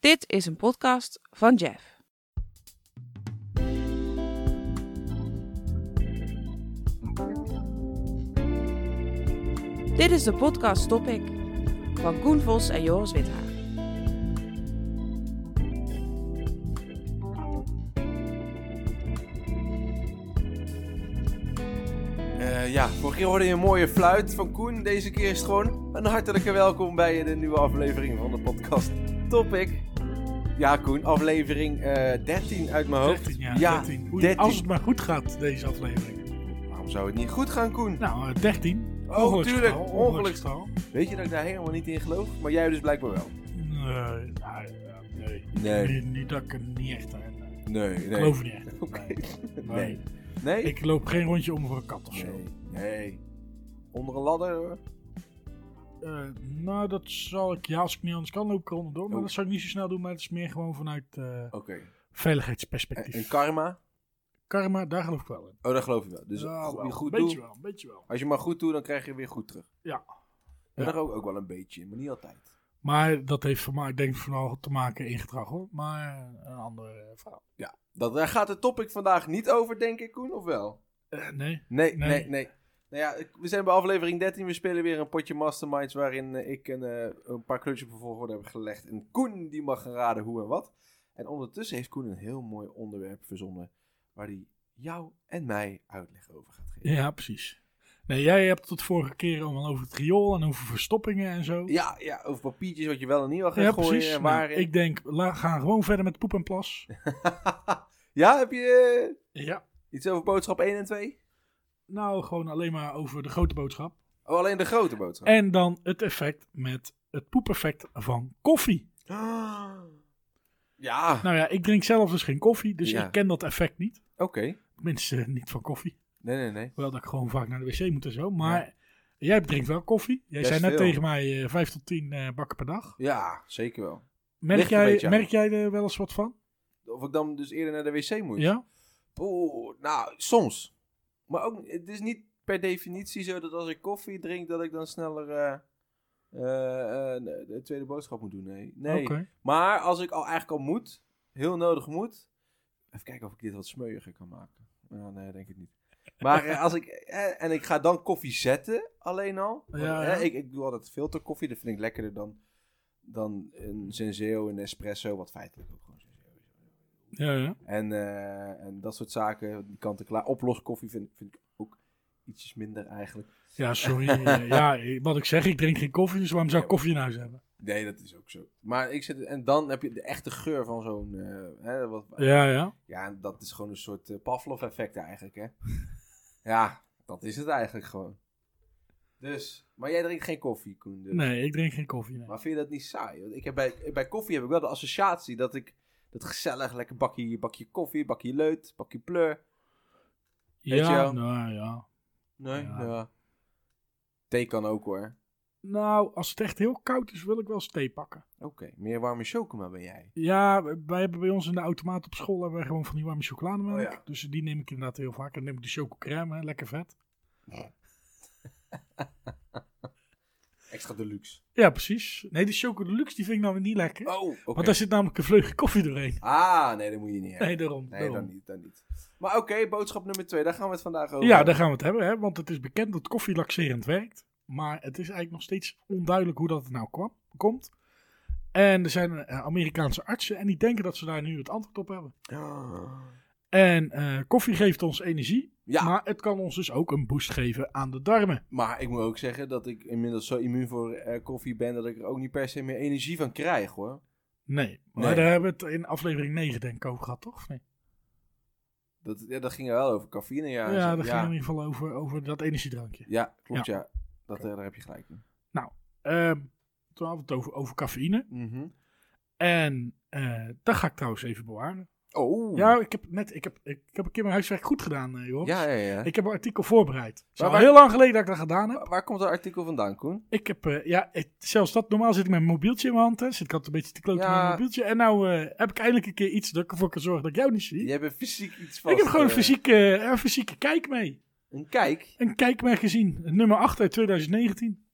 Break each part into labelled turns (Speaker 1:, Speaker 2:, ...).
Speaker 1: Dit is een podcast van Jeff. Dit is de podcast Topic van Koen Vos en Joris Withaar.
Speaker 2: Eh, ja, vorige keer hoorde je een mooie fluit van Koen. Deze keer is het gewoon een hartelijke welkom bij de nieuwe aflevering van de podcast Topic. Ja, Koen, aflevering eh 13 uit mijn hoofd.
Speaker 3: 13, ja.
Speaker 2: Ja,
Speaker 3: 13. Hoe-
Speaker 2: 13.
Speaker 3: Als het maar goed gaat, deze aflevering.
Speaker 2: Waarom zou het niet goed gaan, Koen?
Speaker 3: Nou, eh, 13.
Speaker 2: Oh, tuurlijk,
Speaker 3: Ongeluksgetal.
Speaker 2: Weet je dat ik daar helemaal niet in geloof? Maar jij dus blijkbaar wel.
Speaker 3: Nee, nou, ja, nee.
Speaker 2: Nee,
Speaker 3: Niet, niet dat ik er niet echt aan nee.
Speaker 2: nee,
Speaker 3: Ik
Speaker 2: nee.
Speaker 3: geloof er niet echt in.
Speaker 2: Oké.
Speaker 3: Nee.
Speaker 2: Nee.
Speaker 3: Nee.
Speaker 2: Nee?
Speaker 3: Ik loop geen rondje om voor een kat of zo.
Speaker 2: Nee, nee. Onder een ladder? hoor.
Speaker 3: Eh, nou, dat zal ik, ja, als ik niet anders kan, loop ik eronder door. Maar
Speaker 2: Oh.
Speaker 3: dat zou ik niet zo snel doen, maar het is meer gewoon vanuit eh,
Speaker 2: Oké. En,
Speaker 3: veiligheidsperspectief.
Speaker 2: en karma?
Speaker 3: Karma, daar geloof ik wel in.
Speaker 2: Oh, dat geloof ik wel. Dus
Speaker 3: Ja,
Speaker 2: goed,
Speaker 3: wel.
Speaker 2: goed
Speaker 3: beetje
Speaker 2: doen.
Speaker 3: wel, beetje wel.
Speaker 2: Als je maar goed doet, dan krijg je weer goed terug.
Speaker 3: Ja.
Speaker 2: En
Speaker 3: Ja.
Speaker 2: daar ook, ook wel een beetje in, maar niet altijd.
Speaker 3: Maar dat heeft voor mij, denk ik, vooral te maken in gedrag hoor. Maar een andere eh, verhaal.
Speaker 2: Dat, daar gaat de topic vandaag niet over, denk ik, Koen, of wel?
Speaker 3: Eh, nee.
Speaker 2: Nee, nee,
Speaker 3: Nee.
Speaker 2: nee. Nou ja, ik- we zijn bij aflevering 13. We spelen weer een potje Masterminds waarin eh, ik een, eh, een paar kleurtjes op een volgorde heb gelegd. En Koen die mag gaan raden hoe en wat. En ondertussen heeft Koen een heel mooi onderwerp verzonnen waar hij jou en mij uitleg over gaat geven.
Speaker 3: Ja, precies. Nee, jij hebt het vorige keer allemaal over het riool en over verstoppingen en zo.
Speaker 2: Ja, ja, over papiertjes wat je wel en niet wil gaan
Speaker 3: Ja,
Speaker 2: gooien.
Speaker 3: precies.
Speaker 2: En waar
Speaker 3: Nou, ik denk, la, ga gewoon verder met poep en plas.
Speaker 2: ja, heb je eh,
Speaker 3: Ja.
Speaker 2: iets over boodschap 1 en 2?
Speaker 3: Nou, gewoon alleen maar over de grote boodschap.
Speaker 2: Oh, alleen de grote boodschap.
Speaker 3: En dan het effect met het poepeffect van koffie.
Speaker 2: Ja,
Speaker 3: Nou ja, ik drink zelf dus geen koffie, dus
Speaker 2: Ja.
Speaker 3: ik ken dat effect niet.
Speaker 2: oké.
Speaker 3: Tenminste, niet van koffie.
Speaker 2: Nee, nee, nee.
Speaker 3: Wel dat ik gewoon vaak naar de wc moet en zo. Maar jij drinkt wel koffie. Jij
Speaker 2: Best
Speaker 3: zei net
Speaker 2: veel.
Speaker 3: tegen mij eh 5 tot 10 eh, bakken per dag.
Speaker 2: Ja, zeker wel.
Speaker 3: Merk
Speaker 2: Ligt een beetje
Speaker 3: jij,
Speaker 2: aan.
Speaker 3: merk jij er wel eens wat van?
Speaker 2: Of ik dan dus eerder naar de wc moet.
Speaker 3: Ja?
Speaker 2: Oeh, nou, soms. Maar ook, het is niet per definitie zo dat als ik koffie drink, dat ik dan sneller eh, eh, eh, de tweede boodschap moet doen. Nee. nee.
Speaker 3: Oké.
Speaker 2: Maar als ik al eigenlijk al moet, heel nodig moet. Even kijken of ik dit wat smeuiger kan maken. Nou, nee, denk ik niet. Maar eh, als ik. eh, en ik ga dan koffie zetten alleen al. Want,
Speaker 3: Ja,
Speaker 2: eh,
Speaker 3: ja.
Speaker 2: ik, ik doe altijd filterkoffie. Dat vind ik lekkerder dan, dan een senseo, een espresso. Wat feitelijk ook gewoon senseo is.
Speaker 3: Ja, ja.
Speaker 2: En, eh, en dat soort zaken, die kant-en-klaar. Oploskoffie vind, vind ik ook ietsjes minder eigenlijk.
Speaker 3: Ja, sorry. Eh, ja, eh, wat ik zeg, ik drink geen koffie, dus waarom zou ik koffie in huis hebben?
Speaker 2: Nee, dat is ook zo. Maar ik zit, en dan heb je de echte geur van zo'n. eh, hè, wat,
Speaker 3: Ja, ja.
Speaker 2: ja, en dat is gewoon een soort eh, Pavlov-effect eigenlijk, hè? ja, dat is het eigenlijk gewoon. Dus, maar jij drinkt geen koffie, Koen. dus.
Speaker 3: Nee, ik drink geen koffie. nee.
Speaker 2: Maar vind je dat niet saai? Want ik heb bij, bij koffie heb ik wel de associatie dat ik dat gezellig, lekker bakje, bakje koffie, bakje leut, bakje pleur. weet je
Speaker 3: Ja,
Speaker 2: wel.
Speaker 3: nou ja.
Speaker 2: Nee,
Speaker 3: Ja.
Speaker 2: ja. Thee kan ook hoor.
Speaker 3: Nou, als het echt heel koud is, wil ik wel eens thee pakken.
Speaker 2: Oké, meer warme chocoma ben jij.
Speaker 3: Ja, wij hebben bij ons in de automaat op school hebben wij gewoon van die warme chocolademelk.
Speaker 2: Oh ja.
Speaker 3: Dus die neem ik inderdaad heel vaak. En dan neem ik de chococrème, hè, lekker vet.
Speaker 2: Extra deluxe.
Speaker 3: Ja, precies. Nee, die choco deluxe die vind ik nou weer niet lekker.
Speaker 2: Oh, oké.
Speaker 3: Want daar zit namelijk een vleugje koffie doorheen.
Speaker 2: Ah, nee, dat moet je niet hebben.
Speaker 3: Nee, daarom.
Speaker 2: Nee,
Speaker 3: daarom.
Speaker 2: dan niet, dan niet. Maar oké, boodschap nummer twee, daar gaan we het vandaag over
Speaker 3: Ja,
Speaker 2: hebben.
Speaker 3: daar gaan we het hebben, hè? want het is bekend dat koffie laxerend werkt. Maar het is eigenlijk nog steeds onduidelijk hoe dat het nou kwam, komt. En er zijn eh, Amerikaanse artsen en die denken dat ze daar nu het antwoord op hebben.
Speaker 2: Ah.
Speaker 3: En eh, koffie geeft ons energie,
Speaker 2: Ja, maar...
Speaker 3: maar het kan ons dus ook een boost geven aan de darmen.
Speaker 2: ik moet ook zeggen dat ik inmiddels zo immuun voor eh, koffie ben dat ik er ook niet per se meer energie van krijg hoor.
Speaker 3: Nee, maar
Speaker 2: Nee.
Speaker 3: daar hebben we het in aflevering 9 denk ik over gehad, toch? Of Nee.
Speaker 2: Dat, ja, dat ging er wel over cafeïne, ja.
Speaker 3: Ja,
Speaker 2: en zo.
Speaker 3: dat
Speaker 2: ja.
Speaker 3: ging in ieder geval over, over dat energiedrankje.
Speaker 2: Ja, klopt, ja. Dat, eh, daar heb je gelijk in.
Speaker 3: Ehm, toen hadden we het over, over cafeïne.
Speaker 2: Mhm.
Speaker 3: En eh dat ga ik trouwens even bewaren.
Speaker 2: Oh,
Speaker 3: Ja, ik heb net, ik heb, ik heb een keer mijn huiswerk goed gedaan, eh, joh.
Speaker 2: ja, ja. ja.
Speaker 3: Ik heb een artikel voorbereid. Het is
Speaker 2: Maar
Speaker 3: al
Speaker 2: waar-
Speaker 3: heel lang geleden dat ik dat gedaan heb.
Speaker 2: Wa- Waar komt dat artikel vandaan, Koen?
Speaker 3: Ik heb, eh, ja, het- zelfs dat, normaal zit ik met mijn mobieltje in mijn hand, hè. Zit ik altijd een beetje te kloten
Speaker 2: Ja.
Speaker 3: met mijn mobieltje. En nou eh, heb ik eindelijk een keer iets dat ik ervoor kan zorgen dat ik jou niet zie.
Speaker 2: Je hebt er fysiek iets van.
Speaker 3: ik heb gewoon een fysieke, een fysieke kijk mee.
Speaker 2: Een kijk.
Speaker 3: Een kijk mee gezien. Nummer 8 uit 2019.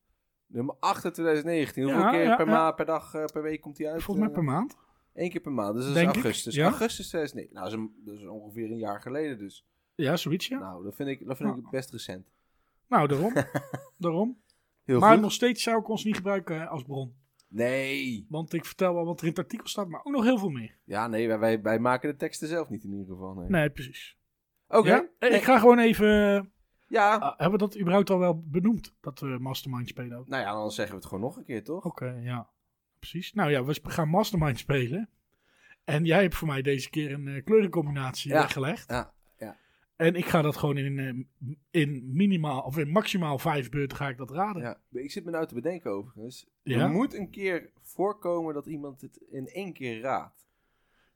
Speaker 2: Nummer 8 uit 2019. Hoeveel
Speaker 3: Ja,
Speaker 2: keer
Speaker 3: ja,
Speaker 2: per,
Speaker 3: ja.
Speaker 2: maand, per dag, eh, per week komt die uit?
Speaker 3: Volgens mij per maand.
Speaker 2: Eén keer per maand. Dus dat is
Speaker 3: Denk ik,
Speaker 2: augustus.
Speaker 3: ja.
Speaker 2: Augustus 2009. Nou, dat is, een- dat is ongeveer een jaar geleden dus.
Speaker 3: Ja, zoiets, ja.
Speaker 2: Nou, dat vind ik, dat vind ik
Speaker 3: Nou.
Speaker 2: best recent.
Speaker 3: Nou, daarom. daarom.
Speaker 2: Heel
Speaker 3: Maar
Speaker 2: goed.
Speaker 3: nog steeds zou ik ons niet gebruiken eh, als bron.
Speaker 2: Nee.
Speaker 3: Want ik vertel wel wat er in het artikel staat, maar ook nog heel veel meer.
Speaker 2: Ja, nee, wij, wij, wij maken de teksten zelf niet in ieder geval. Nee.
Speaker 3: Nee, precies.
Speaker 2: Oké.
Speaker 3: Ja? Eh,
Speaker 2: Nee.
Speaker 3: Ik ga gewoon even...
Speaker 2: Ja.
Speaker 3: eh, hebben we dat überhaupt al wel benoemd, dat we Mastermind spelen? ook?
Speaker 2: Nou ja, dan zeggen we het gewoon nog een keer, toch?
Speaker 3: Oké, ja. Precies. Nou ja, we sp- gaan Mastermind spelen. En jij hebt voor mij deze keer een eh, kleurencombinatie
Speaker 2: Ja.
Speaker 3: weggelegd.
Speaker 2: Ja, ja.
Speaker 3: En ik ga dat gewoon in, eh, m- in minimaal, of in maximaal vijf beurten ga ik dat raden.
Speaker 2: Ja. Ik zit me nou te bedenken overigens.
Speaker 3: Ja?
Speaker 2: Er moet een keer voorkomen dat iemand het in één keer raadt.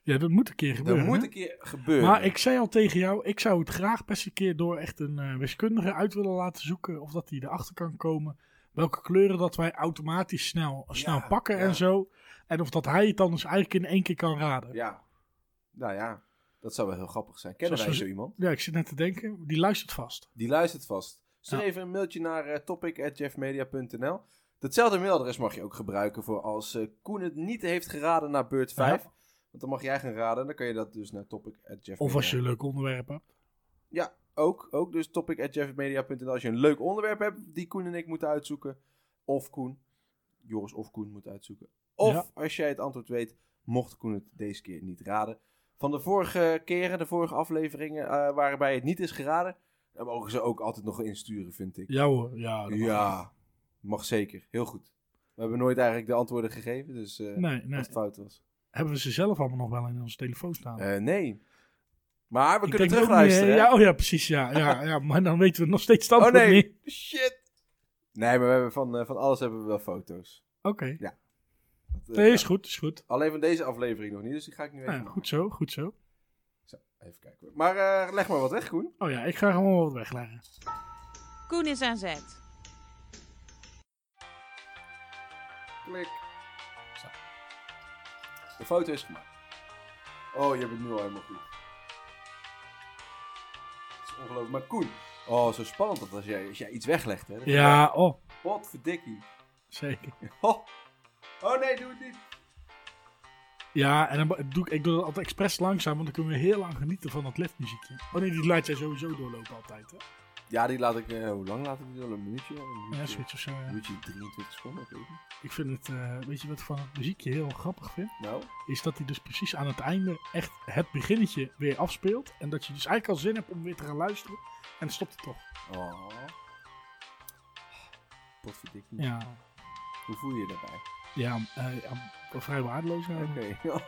Speaker 3: Ja, dat moet een keer
Speaker 2: Dat
Speaker 3: gebeuren.
Speaker 2: moet
Speaker 3: hè?
Speaker 2: een keer gebeuren.
Speaker 3: Maar ik zei al tegen jou, ik zou het graag best een keer door echt een eh, wiskundige uit willen laten zoeken. Of dat die erachter kan komen. Welke kleuren dat wij automatisch snel, snel
Speaker 2: Ja,
Speaker 3: pakken
Speaker 2: ja.
Speaker 3: en zo. En of dat hij het dan dus eigenlijk in één keer kan raden. Ja.
Speaker 2: Ja. Nou ja, dat zou wel heel grappig zijn. Kennen
Speaker 3: Zoals
Speaker 2: wij
Speaker 3: we-
Speaker 2: zo iemand?
Speaker 3: ik zit net te denken, die luistert vast.
Speaker 2: Die luistert vast. Stuur
Speaker 3: Ja.
Speaker 2: even een mailtje naar eh, topic.jeffmedia.nl. Datzelfde mailadres mag je ook gebruiken voor als eh, Koen het niet heeft geraden naar beurt 5. Want dan mag jij gaan raden. Dan kan je dat dus naar topic.jeffmedia.
Speaker 3: Of als je een leuk onderwerp hebt.
Speaker 2: Ja, ook. ook dus topic.jeffmedia.nl als je een leuk onderwerp hebt die Koen en ik moeten uitzoeken. Of Koen. Joris of Koen moet uitzoeken. Of
Speaker 3: Ja.
Speaker 2: als jij het antwoord weet, mocht Koen het deze keer niet raden. Van de vorige keren, de vorige afleveringen eh, waarbij het niet is geraden, dan mogen ze ook altijd nog insturen, vind ik.
Speaker 3: Ja hoor, ja. dat mag.
Speaker 2: Ja, mag zeker. Heel goed. We hebben nooit eigenlijk de antwoorden gegeven, dus eh
Speaker 3: Nee, nee.
Speaker 2: als het fout was.
Speaker 3: Hebben we ze zelf allemaal nog wel in onze telefoon staan?
Speaker 2: Eh, nee. Maar we
Speaker 3: Ik
Speaker 2: kunnen
Speaker 3: denk ook
Speaker 2: terugluisteren.
Speaker 3: niet,
Speaker 2: hè?
Speaker 3: eh, ja, oh ja, precies, ja, ja, ja. Maar dan weten we nog steeds dat
Speaker 2: Oh nee,
Speaker 3: niet.
Speaker 2: shit. Nee, maar we hebben van, eh, van alles hebben we wel foto's.
Speaker 3: Oké,
Speaker 2: Dat, eh,
Speaker 3: nee, is goed, is goed.
Speaker 2: Alleen van deze aflevering nog niet, dus die ga ik nu even,
Speaker 3: Nou ja,
Speaker 2: maken.
Speaker 3: goed zo, goed zo.
Speaker 2: Zo, even kijken. Maar eh, leg maar wat weg, Koen.
Speaker 3: Oh ja, ik ga gewoon wat wegleggen.
Speaker 1: Koen is aan zet.
Speaker 2: Klik. Zo. De foto is gemaakt. Oh, je hebt het nu al helemaal goed. Dat is ongelooflijk. Maar Koen, oh, zo spannend dat als jij, als jij iets weglegt, hè.
Speaker 3: Ja, oh,
Speaker 2: Wat verdikkie.
Speaker 3: zeker.
Speaker 2: Ho. Oh nee, doe het niet.
Speaker 3: Ja, en dan ba- doe ik, ik doe dat altijd expres langzaam, want dan kunnen we heel lang genieten van dat liftmuziekje. Oh nee, die laat jij sowieso doorlopen altijd, hè?
Speaker 2: Ja, die laat ik, eh, hoe lang laat ik die dan? Een minuutje? Een
Speaker 3: Ja,
Speaker 2: minuutje,
Speaker 3: zoiets of zo. ja.
Speaker 2: een minuutje 23 seconden, ik weet niet.
Speaker 3: Ik vind het, eh, weet je wat ik van het muziekje heel grappig vind?
Speaker 2: Nou,
Speaker 3: Is dat hij dus precies aan het einde echt het beginnetje weer afspeelt. En dat je dus eigenlijk al zin hebt om weer te gaan luisteren. En dan stopt het toch.
Speaker 2: Oh. Potverdikkie.
Speaker 3: Ja,
Speaker 2: Hoe voel je je daarbij?
Speaker 3: ja, eh, ja, vrij waardeloos eigenlijk.
Speaker 2: Oké.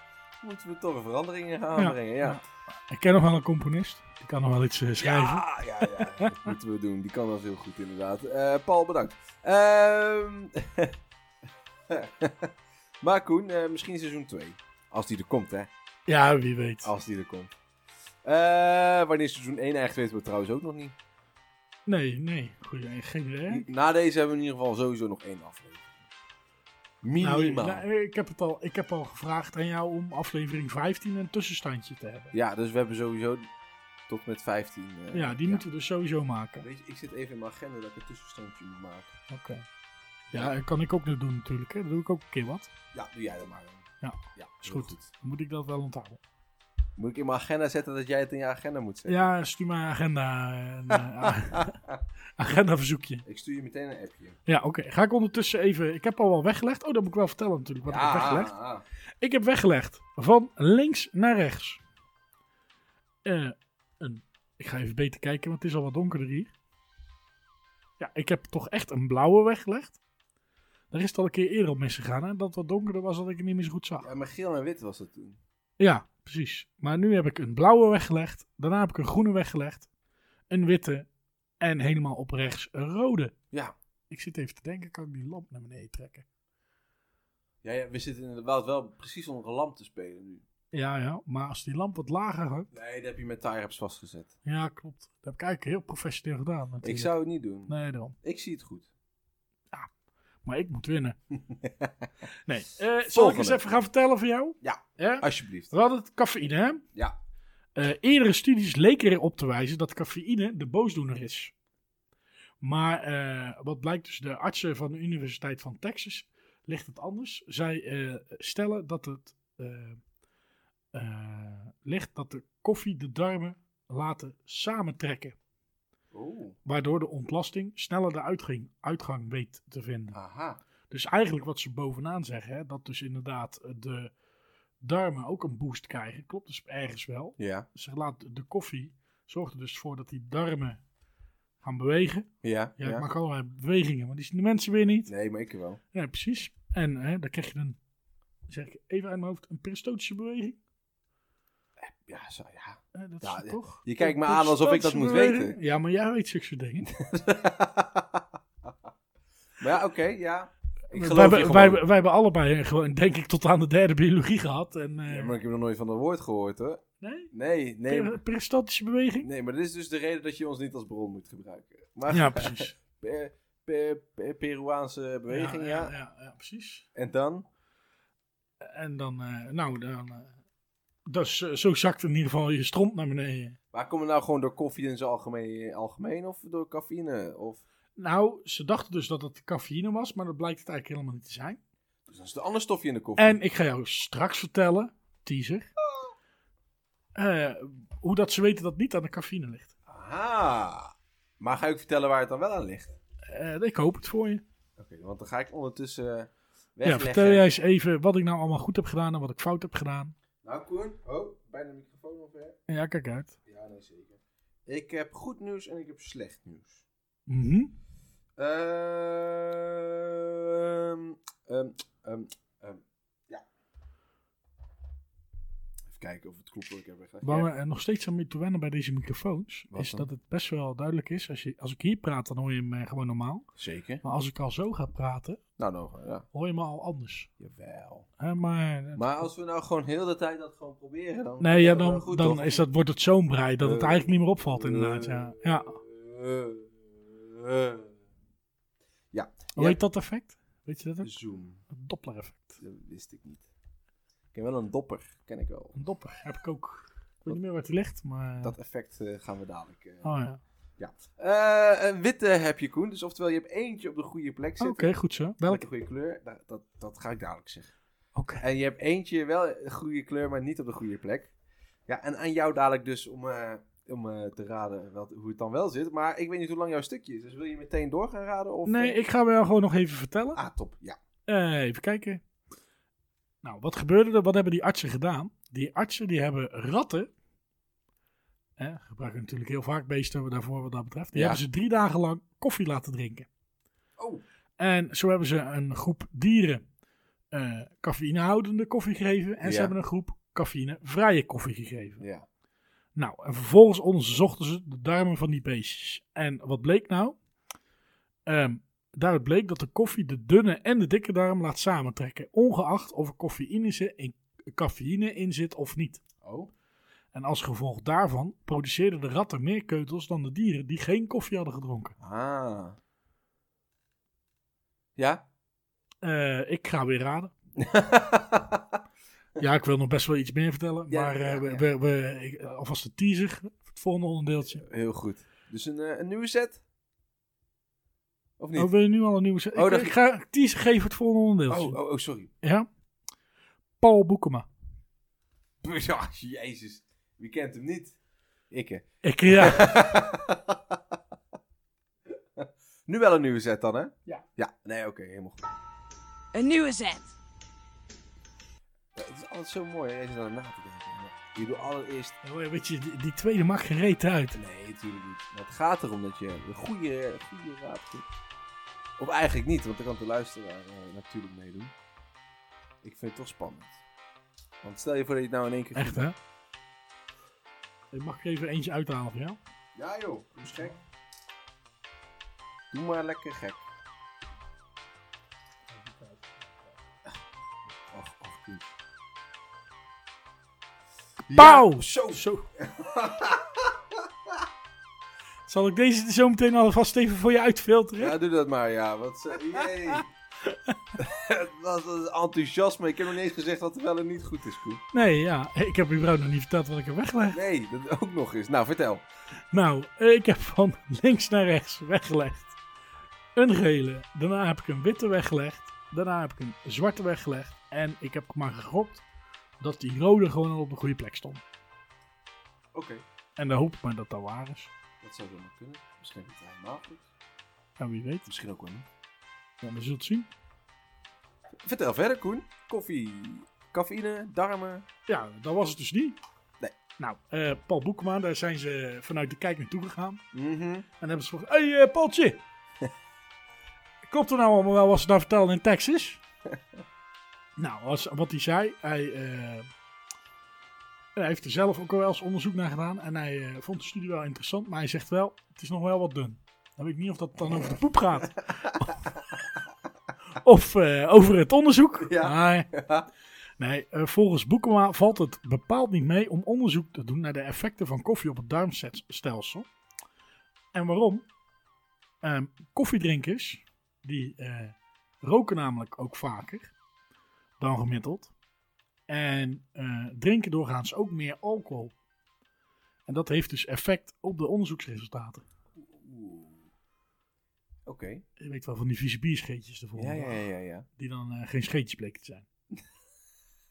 Speaker 2: Moeten we toch een verandering in gaan aanbrengen? Ja.
Speaker 3: Ik ken nog wel een componist. Die kan nog wel iets eh, schrijven.
Speaker 2: Ja, ja, ja. Dat moeten we doen. Die kan dat heel goed, inderdaad. Eh, Paul, bedankt. Ehm maar Koen, eh, misschien seizoen 2. Als die er komt, hè.
Speaker 3: Ja, wie weet.
Speaker 2: Als die er komt. Eh, wanneer seizoen 1 eigenlijk weten we trouwens ook nog niet.
Speaker 3: Nee, nee. Goed, eh, geen idee. hè?
Speaker 2: Na deze hebben we in ieder geval sowieso nog één aflevering.
Speaker 3: Nou,
Speaker 2: Minimaal.
Speaker 3: nou, ik, heb het al, ik heb al gevraagd aan jou om aflevering 15 een tussenstandje te hebben.
Speaker 2: Ja, dus we hebben sowieso tot met 15. eh,
Speaker 3: Ja, die moeten we dus sowieso maken.
Speaker 2: Weet je, ik zit even in mijn agenda dat ik een tussenstandje moet maken.
Speaker 3: Oké. Ja, dat kan ik ook nog doen natuurlijk. Hè. Dan doe ik ook een keer wat.
Speaker 2: Ja, doe jij dat maar. dan.
Speaker 3: Ja,
Speaker 2: ja
Speaker 3: is
Speaker 2: heel
Speaker 3: goed. Dan moet ik dat wel onthouden.
Speaker 2: Moet ik in mijn agenda zetten dat jij het in je agenda moet zetten?
Speaker 3: Ja, stuur maar een agenda. Een, eh, agenda verzoekje.
Speaker 2: Ik stuur je meteen een appje.
Speaker 3: Ja, oké. Ga ik ondertussen even... Ik heb al wel weggelegd. Oh, dat moet ik wel vertellen natuurlijk wat ik heb weggelegd.
Speaker 2: ah, ah.
Speaker 3: Ik heb weggelegd van links naar rechts. Eh, een, ik ga even beter kijken, want het is al wat donkerder hier. Ja, ik heb toch echt een blauwe weggelegd. Daar is het al een keer eerder op misgegaan, hè? Dat het wat donkerder was, dat ik het niet meer zo goed zag.
Speaker 2: ah. Ja, maar geel en wit was dat toen.
Speaker 3: Ja, precies. Maar nu heb ik een blauwe weggelegd. Daarna heb ik een groene weggelegd. Een witte. En helemaal op rechts een rode.
Speaker 2: Ja.
Speaker 3: Ik zit even te denken, kan ik die lamp naar beneden trekken?
Speaker 2: Ja, ja, we zitten inderdaad wel precies om een lamp te spelen nu.
Speaker 3: Ja, ja. Maar als die lamp wat lager hangt...
Speaker 2: Nee, dat heb je met tie-ups vastgezet.
Speaker 3: Ja, klopt. Dat heb ik eigenlijk heel professioneel gedaan.
Speaker 2: Ik
Speaker 3: natuurlijk.
Speaker 2: zou het niet doen.
Speaker 3: Nee, daarom.
Speaker 2: Ik zie het goed.
Speaker 3: Maar ik moet winnen. nee. Eh, zal ik
Speaker 2: Volgende.
Speaker 3: eens even gaan vertellen voor jou?
Speaker 2: Ja. Alsjeblieft.
Speaker 3: We hadden het cafeïne, hè?
Speaker 2: Ja.
Speaker 3: Eh, eerdere studies leken erop te wijzen dat cafeïne de boosdoener is. Maar eh, wat blijkt dus, de artsen van de Universiteit van Texas ligt het anders. Zij eh, stellen dat het eh, eh, ligt dat de koffie de darmen laten samentrekken.
Speaker 2: Oeh.
Speaker 3: Waardoor de ontlasting sneller de uitgang, uitgang weet te vinden.
Speaker 2: Aha.
Speaker 3: Dus eigenlijk wat ze bovenaan zeggen, hè, dat dus inderdaad eh, de darmen ook een boost krijgen. Klopt dus ergens wel.
Speaker 2: Ja.
Speaker 3: Ze laat de koffie zorgt er dus voor dat die darmen gaan bewegen.
Speaker 2: Ja.
Speaker 3: Ja, ik maak allerlei bewegingen, maar die zien de mensen weer niet.
Speaker 2: Nee, maar ik wel.
Speaker 3: Ja, precies. En hè, dan krijg je een, zeg ik even uit mijn hoofd, een peristotische beweging.
Speaker 2: Ja, zo, ja.
Speaker 3: Eh, dat
Speaker 2: Ja,
Speaker 3: is het
Speaker 2: ja.
Speaker 3: toch?
Speaker 2: Je kijkt me aan alsof ik dat moet
Speaker 3: Peristotische
Speaker 2: weten.
Speaker 3: beweging. Ja, maar jij weet zulke soort dingen.
Speaker 2: maar ja, oké, ja. Ik
Speaker 3: Wij,
Speaker 2: geloof je
Speaker 3: hebben-
Speaker 2: gewoon.
Speaker 3: wij, wij hebben allebei eh, gewoon, denk ik, tot aan de derde biologie gehad. En, eh,
Speaker 2: Ja, maar ik heb nog nooit van dat woord gehoord, hoor.
Speaker 3: Nee?
Speaker 2: Nee, nee.
Speaker 3: Per- Peristotische beweging?
Speaker 2: Nee, maar dit is dus de reden dat je ons niet als bron moet gebruiken. Maar
Speaker 3: Ja, precies.
Speaker 2: per- per- per- Peruaanse beweging, ja.
Speaker 3: Ja, ja, ja, precies.
Speaker 2: En dan?
Speaker 3: En dan, eh, nou, dan... eh, dus, eh, zo zakt in ieder geval je stront naar beneden.
Speaker 2: Maar komt het nou gewoon door koffie in zijn algemeen, algemeen of door cafeïne? Of...
Speaker 3: Nou, ze dachten dus dat het cafeïne was, maar dat blijkt het eigenlijk helemaal niet te zijn.
Speaker 2: Dus dat is de ander stofje in de koffie.
Speaker 3: En ik ga jou straks vertellen, teaser, eh, hoe dat ze weten dat het niet aan de cafeïne ligt.
Speaker 2: Aha. Maar ga ik vertellen waar het dan wel aan ligt?
Speaker 3: Eh, ik hoop het voor je.
Speaker 2: Oké, want dan ga ik ondertussen eh,
Speaker 3: Ja,
Speaker 2: wegleggen.
Speaker 3: vertel jij eens even wat ik nou allemaal goed heb gedaan en wat ik fout heb gedaan.
Speaker 2: Nou, Koen. Oh, bijna de microfoon omver.
Speaker 3: Ja, kijk uit.
Speaker 2: Ja, nee, zeker. Ik heb goed nieuws en ik heb slecht nieuws.
Speaker 3: Mhm.
Speaker 2: Ehm, ehm, ehm, ehm, ja. Even kijken of het klopt wat ik heb weggelegd.
Speaker 3: Waar
Speaker 2: Ja.
Speaker 3: we eh, nog steeds aan moeten wennen bij deze microfoons,
Speaker 2: Wat
Speaker 3: is
Speaker 2: dan?
Speaker 3: dat het best wel duidelijk is. Als, je, als ik hier praat, dan hoor je me gewoon normaal.
Speaker 2: Zeker.
Speaker 3: Maar als ik al zo ga praten,
Speaker 2: Nou, nou, ja.
Speaker 3: hoor je me al anders.
Speaker 2: Jawel.
Speaker 3: Hè, maar eh,
Speaker 2: Maar als we nou gewoon heel de tijd dat gewoon proberen, dan...
Speaker 3: nee, ja,
Speaker 2: dat wel
Speaker 3: dan,
Speaker 2: goed,
Speaker 3: dan
Speaker 2: toch?
Speaker 3: is dat, wordt het zo'n brei dat het
Speaker 2: Eh,
Speaker 3: eigenlijk niet meer opvalt inderdaad. Ja, ja.
Speaker 2: Eh, eh,
Speaker 3: Hoe
Speaker 2: ja.
Speaker 3: heet dat effect? Weet je dat
Speaker 2: Dus-
Speaker 3: ook?
Speaker 2: Zoom.
Speaker 3: Het Doppler-effect.
Speaker 2: Dat wist ik niet. Ik ken wel een dopper. Ken ik wel.
Speaker 3: Een dopper heb ik ook. Ik weet niet meer waar die ligt, maar...
Speaker 2: Dat effect eh, gaan we dadelijk... eh.
Speaker 3: Oh ja.
Speaker 2: Eh, een witte heb je, Koen. Dus oftewel, je hebt eentje op de goede plek
Speaker 3: Oké,
Speaker 2: zitten.
Speaker 3: goed zo.
Speaker 2: Met
Speaker 3: Welke?
Speaker 2: de goede kleur. Dat, dat, dat ga ik dadelijk zeggen.
Speaker 3: Oké.
Speaker 2: En je hebt eentje wel een goede kleur, maar niet op de goede plek. Ja, en aan jou dadelijk dus om, eh, om eh, te raden wat, hoe het dan wel zit. Maar ik weet niet hoe lang jouw stukje is. Dus wil je meteen door gaan raden? Of,
Speaker 3: Nee,
Speaker 2: eh,
Speaker 3: ik ga wel gewoon nog even vertellen.
Speaker 2: Ah, top. Ja.
Speaker 3: Eh, even kijken. Nou, wat gebeurde er? Wat hebben die artsen gedaan? Die artsen die hebben ratten. Hè, gebruiken natuurlijk heel vaak beesten daarvoor wat dat betreft. Die
Speaker 2: Ja.
Speaker 3: hebben ze drie dagen lang koffie laten drinken.
Speaker 2: Oh.
Speaker 3: En zo hebben ze een groep dieren eh cafeïnehoudende koffie gegeven. En ze
Speaker 2: Ja.
Speaker 3: hebben een groep cafeïnevrije koffie gegeven.
Speaker 2: Ja.
Speaker 3: Nou, en vervolgens onderzochten ze de darmen van die beestjes. En wat bleek nou? Ehm, daaruit bleek dat de koffie de dunne en de dikke darm laat samentrekken, ongeacht of er cafeïne zi- in, cafeïne in zit of niet.
Speaker 2: Oh.
Speaker 3: En als gevolg daarvan produceerden de ratten meer keutels dan de dieren die geen koffie hadden gedronken.
Speaker 2: Ah. Ja?
Speaker 3: Eh, ik ga weer raden. Ja, ik wil nog best wel iets meer vertellen,
Speaker 2: Ja,
Speaker 3: maar eh,
Speaker 2: ja, ja.
Speaker 3: we, we, we- ik- alvast een teaser voor het volgende onderdeeltje.
Speaker 2: Heel goed. Dus een, eh, een nieuwe set? Of niet?
Speaker 3: Oh, wil je nu al een nieuwe...
Speaker 2: Oh,
Speaker 3: ik,
Speaker 2: dat-
Speaker 3: ik ga een teaser geven voor het volgende onderdeeltje.
Speaker 2: oh, oh, oh, sorry.
Speaker 3: Ja. Paul Boekema.
Speaker 2: Ja, jezus. Wie kent hem niet? Ikke.
Speaker 3: Ik, ja.
Speaker 2: Nu wel een nieuwe set dan, hè?
Speaker 3: Ja.
Speaker 2: Ja, nee, oké, helemaal goed.
Speaker 1: Een nieuwe zet.
Speaker 2: Ja, Eh, Het is altijd zo mooi, hè, even naar na te denken. Maar Je doet allereerst...
Speaker 3: Weet je, die, die tweede mag gereed uit.
Speaker 2: Nee, natuurlijk niet. Maar het gaat erom dat je een goede, goede raad geeft. Of eigenlijk niet, want dan kan de luisteraar eh, natuurlijk meedoen. Ik vind het toch spannend. Want stel je voor dat je het nou in één keer...
Speaker 3: Echt, hè? Ik mag er even eentje uithalen voor jou.
Speaker 2: Ja joh, doe eens gek. Doe maar lekker gek. Ach, ach, goed.
Speaker 3: Pauw!
Speaker 2: Ja, zo!
Speaker 3: Zo. Zal ik deze er zo meteen alvast even voor je uitfilteren?
Speaker 2: Ja, doe dat maar, ja. Wat ze- jee. dat is enthousiasme. Ik heb nog niet eens gezegd dat het wel en niet goed is, Koen.
Speaker 3: Nee, ja. Hey, Ik heb überhaupt nog niet verteld wat ik heb weggelegd.
Speaker 2: Nee, dat ook nog eens. Nou, vertel.
Speaker 3: Nou, eh, ik heb van links naar rechts weggelegd. Een gele. Daarna heb ik een witte weggelegd. Daarna heb ik een zwarte weggelegd. En ik heb maar gegokt dat die rode gewoon al op de goede plek stond.
Speaker 2: Oké,
Speaker 3: En dan hoop ik maar dat dat waar is.
Speaker 2: dat zou zomaar kunnen. Misschien niet helemaal goed.
Speaker 3: En wie weet.
Speaker 2: Misschien ook wel niet.
Speaker 3: Ja, we zullen het zien.
Speaker 2: Vertel verder, Koen. Koffie, cafeïne, darmen.
Speaker 3: Ja, dat was het dus niet.
Speaker 2: Nee.
Speaker 3: Nou, eh, Paul Boekema, daar zijn ze vanuit de kijk naartoe gegaan.
Speaker 2: Mhm.
Speaker 3: En hebben ze gevraagd, hé hey, eh, Paultje. Klopt er nou allemaal wel wat ze daar vertelden in Texas? nou, was, wat hij zei, hij, eh, hij heeft er zelf ook wel eens onderzoek naar gedaan. En hij eh, vond de studie wel interessant, maar hij zegt wel, het is nog wel wat dun. Dan weet ik niet of dat dan over de poep gaat. of eh, over het onderzoek.
Speaker 2: Ja.
Speaker 3: Nee. Nee, eh, volgens Boekema valt het bepaald niet mee om onderzoek te doen naar de effecten van koffie op het darmstelsel. En waarom? Ehm, koffiedrinkers, die eh, roken namelijk ook vaker dan gemiddeld. En eh, drinken doorgaans ook meer alcohol. En dat heeft dus effect op de onderzoeksresultaten.
Speaker 2: Oeh. Oké.
Speaker 3: Je weet wel van die vieze bierscheetjes de
Speaker 2: Ja,
Speaker 3: volgende
Speaker 2: ja,
Speaker 3: dag,
Speaker 2: ja, ja.
Speaker 3: Die dan eh, geen scheetjes bleken te zijn.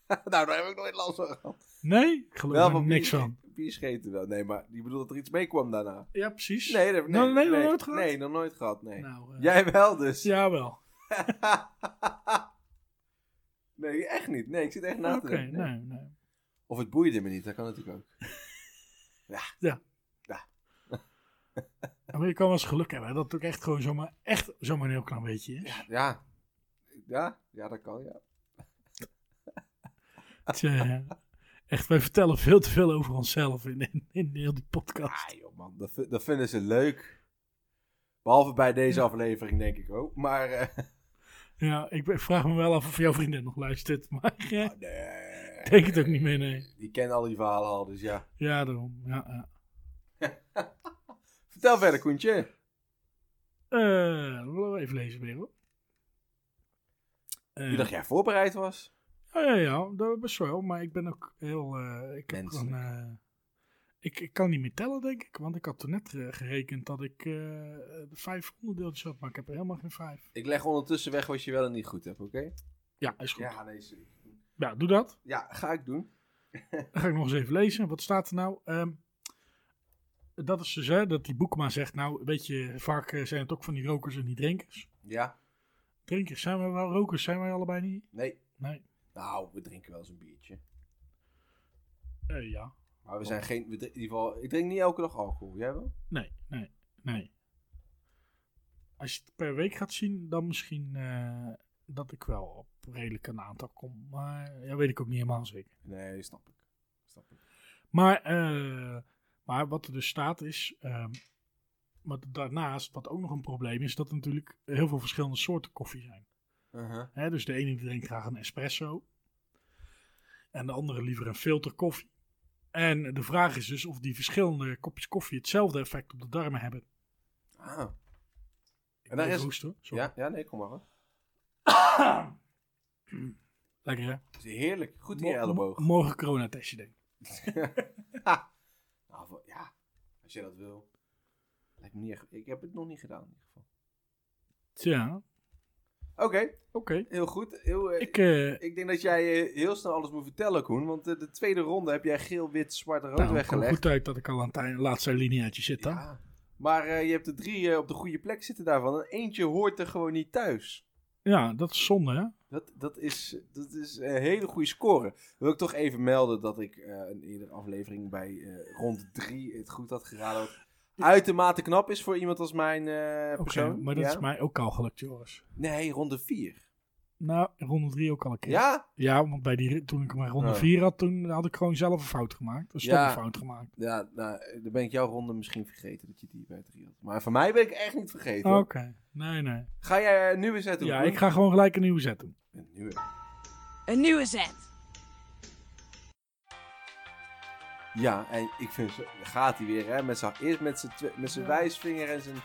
Speaker 2: nou, daar heb ik nooit last van gehad.
Speaker 3: Nee, geloof ik
Speaker 2: van
Speaker 3: niks
Speaker 2: bier-
Speaker 3: van.
Speaker 2: Bierscheten wel. Nee, maar je bedoelt dat er iets mee kwam daarna.
Speaker 3: Ja, precies.
Speaker 2: Nee, dat heb ik
Speaker 3: Nou,
Speaker 2: nee,
Speaker 3: nee, nog nooit gehad?
Speaker 2: Nee, nog nooit gehad, nee.
Speaker 3: Nou, eh,
Speaker 2: Jij wel dus.
Speaker 3: Jawel.
Speaker 2: nee, echt niet. Nee, ik zit echt na
Speaker 3: Oké, nou.
Speaker 2: te denken. Nee.
Speaker 3: nee, nee.
Speaker 2: Of het boeide me niet, dat kan natuurlijk ook.
Speaker 3: Maar je kan wel eens geluk hebben hè, dat het ook echt gewoon zomaar, echt zomaar een heel klein beetje is.
Speaker 2: Ja. Ja, ja dat kan, ja.
Speaker 3: Het, eh, echt, wij vertellen veel te veel over onszelf in, in, in heel die podcast.
Speaker 2: Ah joh man, dat, vi- dat vinden ze leuk. Behalve bij deze aflevering, denk ik ook. Maar, eh,
Speaker 3: Ja, ik, ben- vraag me wel af of jouw vriendin nog luistert, maar eh,
Speaker 2: ah, nee.
Speaker 3: ik denk het ook niet meer, nee.
Speaker 2: Die kennen al die verhalen al, dus ja.
Speaker 3: Ja, daarom. Ja, ja.
Speaker 2: Vertel verder, Koentje.
Speaker 3: Eh, laten we even lezen weer, hoor. Eh,
Speaker 2: Je dacht jij voorbereid was?
Speaker 3: Ja, Eh, ja, ja, dat best wel, maar ik ben ook heel... eh, ik, heb
Speaker 2: Menselijk.
Speaker 3: gewoon, eh, ik, ik kan niet meer tellen, denk ik, want ik had toen net eh, gerekend dat ik eh, vijf onderdeeltjes had, maar ik heb er helemaal geen vijf.
Speaker 2: Ik leg ondertussen weg wat je wel en niet goed hebt, oké?
Speaker 3: Ja, is goed.
Speaker 2: nee, sorry.
Speaker 3: ja doe dat.
Speaker 2: Ja, ga ik doen.
Speaker 3: Dan ga ik nog eens even lezen. Wat staat er nou? Ehm, dat is dus hè, dat die Boekma zegt, nou weet je, vaak eh, zijn het ook van die rokers en die drinkers.
Speaker 2: Ja?
Speaker 3: Drinkers zijn we wel, rokers zijn wij allebei niet.
Speaker 2: Nee.
Speaker 3: Nee.
Speaker 2: Nou, we drinken wel eens een biertje.
Speaker 3: Eh, ja.
Speaker 2: Maar we zijn geen... we drinken- in ieder geval, ik drink niet elke dag alcohol. Jij wel?
Speaker 3: Nee, nee, nee. Als je het per week gaat zien, dan misschien eh, dat ik wel op redelijk een aantal kom. Maar dat weet ik ook niet helemaal zeker.
Speaker 2: Nee, snap ik. Snap ik.
Speaker 3: Maar, eh, maar wat er dus staat is. ehm, maar daarnaast, wat ook nog een probleem is, dat er natuurlijk heel veel verschillende soorten koffie zijn.
Speaker 2: Uh-huh.
Speaker 3: Hè, dus de ene die drinkt graag een espresso. En de andere liever een filterkoffie. En de vraag is dus of die verschillende kopjes koffie hetzelfde effect op de darmen hebben.
Speaker 2: Ah.
Speaker 3: Ik
Speaker 2: En
Speaker 3: moet
Speaker 2: daar
Speaker 3: even
Speaker 2: is-
Speaker 3: hoesten, hoor. Sorry.
Speaker 2: Ja? ja, nee, kom maar. hoor.
Speaker 3: Lekker hè?
Speaker 2: Het is heerlijk. Goed in je
Speaker 3: Mo-
Speaker 2: elleboog.
Speaker 3: mo- Morgen coronatestje denk ik.
Speaker 2: Nou, voor- ja, als jij dat wil. Lijkt me niet echt- Ik heb het nog niet gedaan in ieder geval.
Speaker 3: Tja,
Speaker 2: Oké,
Speaker 3: oké.
Speaker 2: heel goed. Heel, eh,
Speaker 3: Ik, eh
Speaker 2: Ik denk dat jij eh, heel snel alles moet vertellen, Koen. Want eh, de tweede ronde heb jij geel, wit, zwart en rood
Speaker 3: nou, het komt
Speaker 2: weggelegd.
Speaker 3: goed uit dat ik al aan het ei- laatste lineaatje zit hè?
Speaker 2: Ja. Maar eh, je hebt er drie eh, op de goede plek zitten daarvan. En eentje hoort er gewoon niet thuis.
Speaker 3: Ja, dat is zonde, hè?
Speaker 2: Dat, dat, is, dat is een hele goede score. Wil ik toch even melden dat ik eh, in iedere aflevering bij eh, rond drie het goed had geraden. Wat uitermate knap is voor iemand als mijn eh,
Speaker 3: Oké,
Speaker 2: persoon.
Speaker 3: maar dat
Speaker 2: Ja?
Speaker 3: is mij ook al gelukt, Joris.
Speaker 2: Nee, ronde vier.
Speaker 3: Nou, ronde 3 ook al een keer.
Speaker 2: Ja?
Speaker 3: Ja, want bij die, toen ik mijn ronde
Speaker 2: Ja.
Speaker 3: 4 had, toen had ik gewoon zelf een fout gemaakt. Een
Speaker 2: Ja.
Speaker 3: stomme fout gemaakt.
Speaker 2: Ja, nou, dan ben ik jouw ronde misschien vergeten dat je die bij drie had. Maar voor mij ben ik echt niet vergeten.
Speaker 3: Oké,
Speaker 2: hoor.
Speaker 3: nee, nee.
Speaker 2: Ga jij er nu eens uit doen?
Speaker 3: Ja,
Speaker 2: Koen?
Speaker 3: ik ga gewoon gelijk een nieuwe zet doen.
Speaker 2: Nu.
Speaker 1: Een nieuwe zet.
Speaker 2: Ja, en ik vind ze. daar Gaat hij weer, hè? Met zijn, eerst met zijn, twi- met zijn
Speaker 3: Ja.
Speaker 2: wijsvinger en zijn,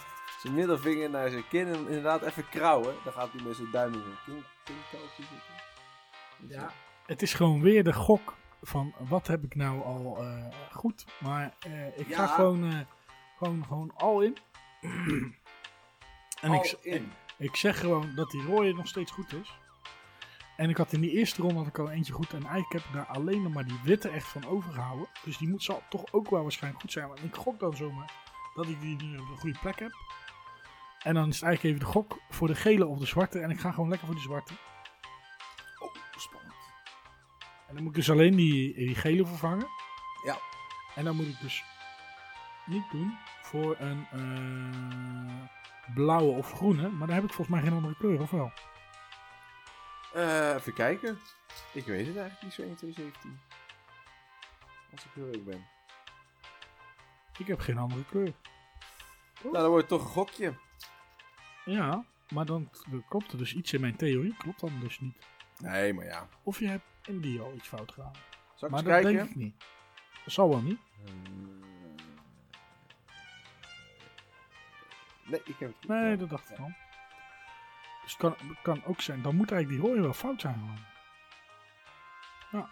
Speaker 2: zijn middelvinger naar zijn kin. En inderdaad even krauwen. Dan gaat hij met zijn duim in zijn kin. kinkeltje zitten.
Speaker 3: Ja. Het is gewoon weer de gok van wat heb ik nou al eh, goed. Maar eh, ik ga
Speaker 2: Ja.
Speaker 3: gewoon, eh, gewoon, gewoon al in. en
Speaker 2: Al
Speaker 3: ik,
Speaker 2: in.
Speaker 3: ik zeg gewoon dat die rode nog steeds goed is. En ik had in die eerste ronde had ik al eentje goed. En eigenlijk heb ik daar alleen nog maar die witte echt van overgehouden. Dus die moet, zal toch ook wel waarschijnlijk goed zijn. Want ik gok dan zomaar dat ik die nu op een goede plek heb. En dan is het eigenlijk even de gok voor de gele of de zwarte. En ik ga gewoon lekker voor de zwarte.
Speaker 2: Oh, spannend.
Speaker 3: En dan moet ik dus alleen die, die gele vervangen.
Speaker 2: Ja.
Speaker 3: En dan moet ik dus niet doen voor een eh, blauwe of groene. Maar daar heb ik volgens mij geen andere kleur, of wel?
Speaker 2: Eh, even kijken. Ik weet het eigenlijk niet zo 1, 2, 17. Als ik heel eerlijk ben.
Speaker 3: Ik heb geen andere kleur.
Speaker 2: Nou, dan wordt het toch een gokje.
Speaker 3: Ja, maar dan klopt er dus iets in mijn theorie. Klopt dan dus niet.
Speaker 2: Nee, maar ja.
Speaker 3: Of je hebt in die al iets fout gedaan.
Speaker 2: Zal ik eens
Speaker 3: maar dat
Speaker 2: kijken?
Speaker 3: denk ik niet. Dat zal wel niet.
Speaker 2: Hmm. Nee, ik heb het goed.
Speaker 3: Nee, dat dacht ik
Speaker 2: Ja.
Speaker 3: al. Dus het kan, het kan ook zijn. Dan moet eigenlijk die rode wel fout zijn. Man. Ja,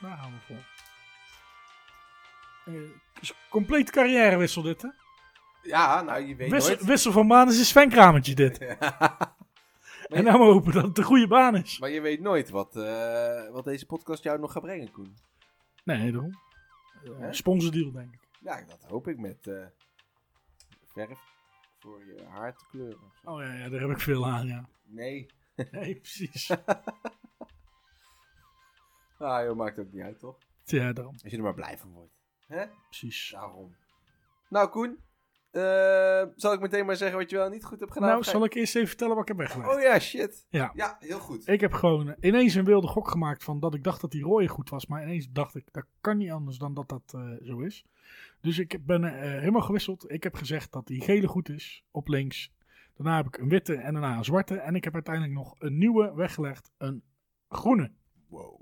Speaker 3: daar gaan we voor. Eh, is een compleet carrièrewissel dit, hè?
Speaker 2: Ja, nou, je weet
Speaker 3: Wissel,
Speaker 2: nooit.
Speaker 3: wissel van baan is een Sven-kramertje dit. En nou maar hopen dat het de goede baan is.
Speaker 2: maar je weet nooit wat, eh, wat deze podcast jou nog gaat brengen, Koen.
Speaker 3: Nee, daarom. Eh,
Speaker 2: Hè?
Speaker 3: Sponsordeal, denk ik.
Speaker 2: Ja, dat hoop ik met eh, verf voor je haar te kleuren. of zo.
Speaker 3: Oh ja, ja, daar heb ik veel aan, ja.
Speaker 2: Nee.
Speaker 3: Nee, precies.
Speaker 2: Ah, joh, maakt ook niet uit, toch?
Speaker 3: ja, daarom.
Speaker 2: Als je er maar blij van wordt. Hè?
Speaker 3: Precies.
Speaker 2: Daarom. Nou, Koen. eh, zal ik meteen maar zeggen wat je wel niet goed hebt gedaan?
Speaker 3: Nou,
Speaker 2: Ga-
Speaker 3: zal ik eerst even vertellen wat ik heb weggelegd.
Speaker 2: Oh ja, shit.
Speaker 3: Ja.
Speaker 2: Ja, heel goed.
Speaker 3: Ik heb gewoon eh, ineens een wilde gok gemaakt van dat ik dacht dat die rode goed was. Maar ineens dacht ik, dat kan niet anders dan dat dat eh, zo is. Dus ik ben eh, helemaal gewisseld. Ik heb gezegd dat die gele goed is op links. Daarna heb ik een witte en daarna een zwarte. En ik heb uiteindelijk nog een nieuwe weggelegd, een groene.
Speaker 2: Wow.